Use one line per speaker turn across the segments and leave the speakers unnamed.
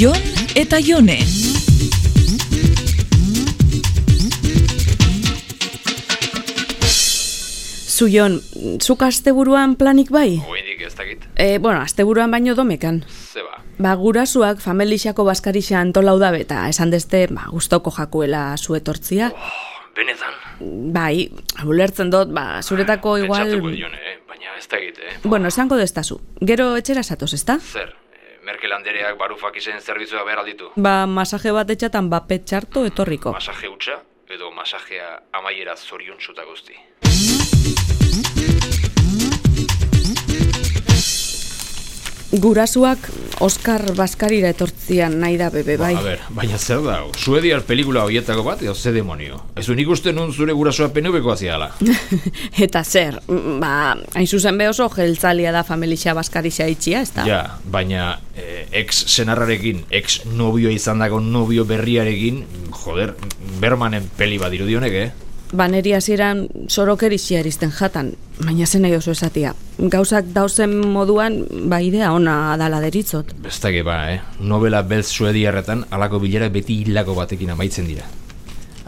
Jon eta Jone.
Zu Jon, zuk asteburuan planik bai?
Oedik ez dakit,
E, bueno, asteburuan baino domekan.
zeba.
Ba, gurasuak familixako baskarixa antolau da beta, esan deste, ba, gustoko jakuela zu etortzia.
Benetan,
Bai, ulertzen dut, ba,
Ah,
zuretako igual...
pentsatuko dion, eh? baina ez dakit, eh?
Bueno, esango destazu. Gero etxera zatoz, ezta?
Zer, eh, Merkel handereak barufak izen zerbitzua behar alditu.
Ba, masaje bat etxatan bape txarto etorriko.
Masaje hutsa, edo masajea amaiera zorion zuta guzti.
Gurasuak Oskar Baskarira etortzian nahi da bebe, bai.
A ber, baina zer da, hau? suediar pelikula horietako bat, edo ze demonio. Ez nik uste nun zure gurasoa penubeko aziala.
Eta zer, mm, ba, hain zuzen be oso jeltzalia da familixa Baskarixa itxia, ezta?
ja, baina eh, ex senarrarekin, ex novio izandako novio berriarekin, joder, bermanen peli bat irudionek, eh?
Ba, neri hasieran sorokeri xiaristen jatan, baina zen nahi oso esatia. Gauzak dauzen moduan, ba, idea ona dala deritzot.
Bestake ba, eh? Nobela beltz suediarretan halako bilera beti hilako batekin amaitzen dira.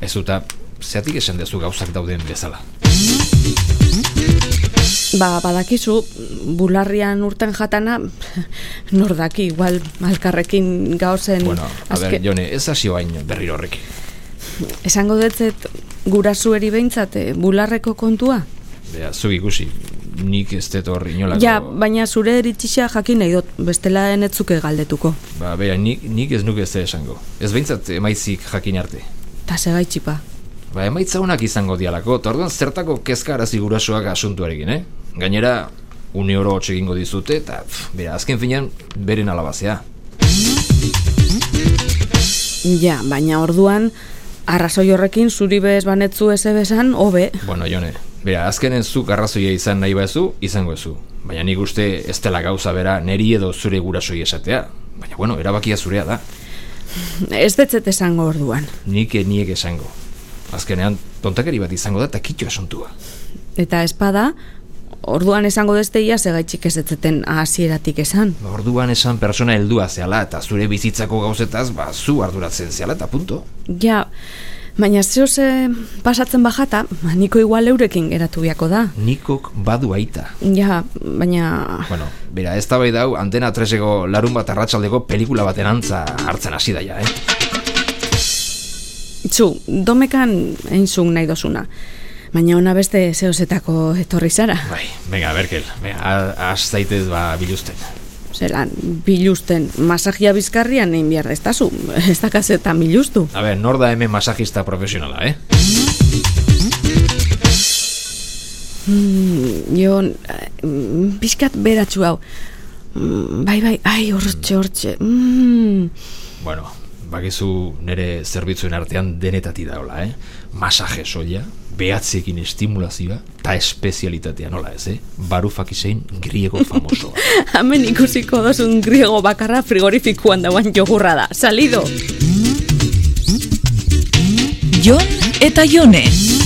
Ez duta, zeatik esan dezu gauzak dauden bezala.
Ba, badakizu, bularrian urten jatana, nordaki, igual, alkarrekin gauzen...
Bueno, a ber,
Mm, azke-
Jone, ez hasi bain berriro horrek.
Esango detzet, gurasueri behintzat, eh, bularreko kontua?
Bea, zuk ikusi, nik ez dut hor inolako...
Ja, ba- baina zure eritxixea jakin nahi dut, bestela enetzuke galdetuko.
Ba, bea, nik, nik ez nuke ez esango. Ez behintzat emaitzik jakin arte.
Ta segaitxipa.
Ba, emaitza honak izango dialako, eta orduan zertako kezkarazi gurasoak asuntuarekin, eh? Gainera, une oro hotxe egingo dizute, eta, pff, bera, azken finean, beren alabazea.
Ja, baina orduan, arrazoi horrekin zuri bez banetzu ez ebesan, hobe.
Bueno, Jone, bera, azkenen zuk arrazoia izan nahi bazu, izango ezu. Baina nik uste ez dela gauza bera neri edo zure gurasoi esatea. Baina, bueno, erabakia zurea da.
Ez detzet esango orduan.
Nik e niek esango. Azkenean, tontakeri bat izango da eta kitxo asuntua.
Eta espada, orduan esango deste ia segaitxik ez detzeten hasieratik esan.
Ba, Orduan esan persona heldua zeala eta zure bizitzako gauzetaz, ba, zu arduratzen zeala eta punto.
Ja, baina zehoz eh, pasatzen bajata, ba, niko igual eurekin geratu biako da.
Nikok badu aita.
Ja, baina...
Bueno, bera, ez da bai dau, antena 3eko larun bat arratsaldeko pelikula baten antza hartzen hasi daia, eh?
Txu, domekan einzun nahi dozuna. Baina ona beste zehozetako etorri zara.
Bai, venga, Berkel, venga, has zaitez, ba, biluzten.
Zeran, bilusten, masajia bizkarrian egin behar destazu. Ez dakazetan bilustu.
A ber, nor da hemen masajista profesionala, eh?
Jon, eh, mm, pixkat beratxu hau. Mm, Bai, bai, ai, hortxe, hortxe. Mm.
Bueno, bakizu nire zerbitzuen artean denetati daola, eh? Masaje soia, behatzekin estimulazioa, eta espezialitatea nola ez, eh? Barufak izein griego famosoa.
Hemen ikusiko dozun griego bakarra frigorifikuan dauan jogurra da. Salido!
Jon eta Jone.